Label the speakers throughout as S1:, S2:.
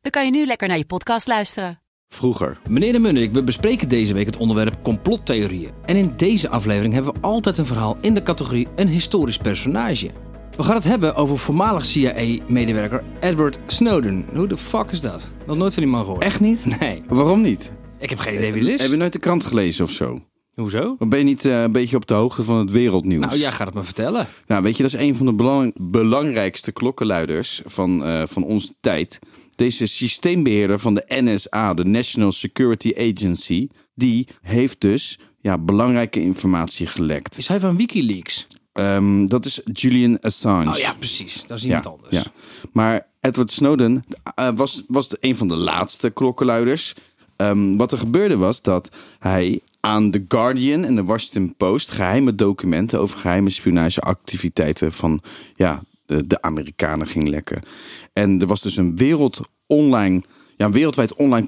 S1: dan kan je nu lekker naar je podcast luisteren.
S2: Vroeger.
S3: Meneer de Munnik, we bespreken deze week het onderwerp complottheorieën. En in deze aflevering hebben we altijd een verhaal in de categorie een historisch personage. We gaan het hebben over voormalig CIA-medewerker Edward Snowden. Hoe de fuck is dat? Nog nooit van die man gehoord.
S2: Echt niet?
S3: Nee,
S2: Waarom niet?
S3: ik heb geen idee wie dit
S2: Heb je
S3: is.
S2: nooit de krant gelezen of zo?
S3: Hoezo?
S2: Dan ben je niet eh, een beetje op de hoogte van het wereldnieuws?
S3: Nou, jij gaat het me vertellen.
S2: Nou, weet je, dat is een van de belang- belangrijkste klokkenluiders van, eh, van onze tijd. Deze systeembeheerder van de NSA, de National Security Agency, die heeft dus ja, belangrijke informatie gelekt.
S3: Is hij van Wikileaks?
S2: Ehm, dat is Julian Assange.
S3: Oh ja, precies. Dat is iemand anders.
S2: Ja. Maar Edward Snowden eh, was, was de- een van de laatste klokkenluiders. Ehm, wat er gebeurde was dat hij aan The Guardian en de Washington Post geheime documenten over geheime spionageactiviteiten van ja, de, de Amerikanen ging lekken. En er was dus een wereld online. Ja, een wereldwijd online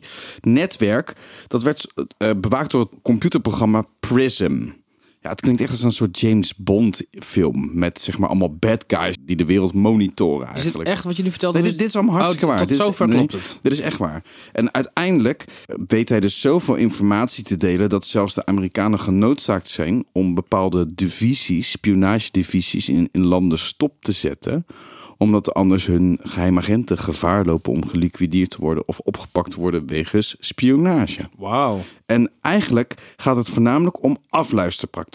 S2: communicatienetwerk. Dat werd eh, bewaakt door het computerprogramma Prism. Ja, het klinkt echt als een soort James Bond film. Met zeg maar allemaal bad guys die de wereld monitoren
S3: Is dit
S2: eigenlijk.
S3: echt wat je nu vertelde?
S2: Nee, dit, dit is allemaal hartstikke
S3: Oh,
S2: waar.
S3: tot
S2: dit is,
S3: zover
S2: nee,
S3: klopt het.
S2: Dit is echt waar. En uiteindelijk weet hij dus zoveel informatie te delen... dat zelfs de Amerikanen genoodzaakt zijn... om bepaalde divisies, spionagedivisies in, in landen stop te zetten... omdat anders hun geheimagenten gevaar lopen om geliquideerd te worden... of opgepakt te worden wegens spionage.
S3: Wauw.
S2: En eigenlijk gaat het voornamelijk om afluisterpraktijken.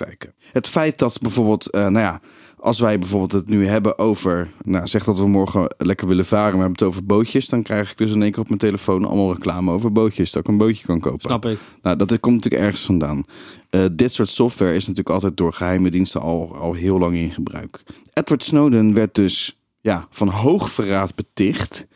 S2: Het feit dat bijvoorbeeld, eh, nou ja, als wij bijvoorbeeld het nu hebben over, nou zeg dat we morgen lekker willen varen, maar we hebben het over bootjes, dan krijg ik dus in één keer op mijn telefoon allemaal reclame over bootjes, dat ik een bootje kan kopen.
S3: Snap ik.
S2: Nou, dat komt natuurlijk ergens vandaan. Eh, dit soort software is natuurlijk altijd door geheime diensten al, al heel lang in gebruik. Edward Snowden werd dus ja, van hoogverraad beticht.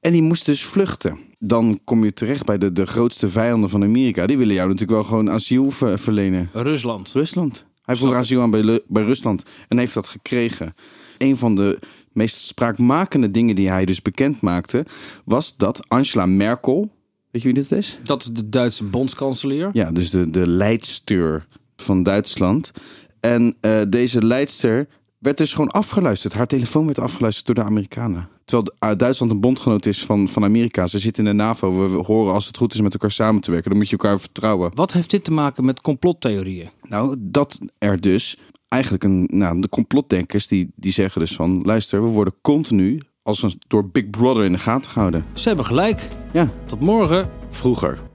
S2: En die moest dus vluchten. Dan kom je terecht bij de, de grootste vijanden van Amerika. Die willen jou natuurlijk wel gewoon asiel ver- verlenen.
S3: Rusland.
S2: Rusland. Hij vroeg asiel aan bij, Lu- bij Rusland en heeft dat gekregen. Een van de meest spraakmakende dingen die hij dus bekend maakte... was dat Angela Merkel... Weet je wie dit is?
S3: Dat is de Duitse bondskanselier.
S2: Ja, dus de, de leidster van Duitsland. En eh, deze leidster werd dus gewoon afgeluisterd. Haar telefoon werd afgeluisterd door de Amerikanen. Terwijl eh, Duitsland een bondgenoot is van, van Amerika. Ze zitten in de NAVO. We horen als het goed is met elkaar samen te werken. Dan moet je elkaar vertrouwen.
S3: Wat heeft dit te maken met complottheorieën?
S2: Nou, dat er dus eigenlijk een. Nou, de complotdenkers die, die zeggen dus van: luister, we worden continu als een, door Big Brother in de gaten gehouden.
S3: Ze hebben gelijk.
S2: Ja,
S3: Tot morgen.
S2: vroeger.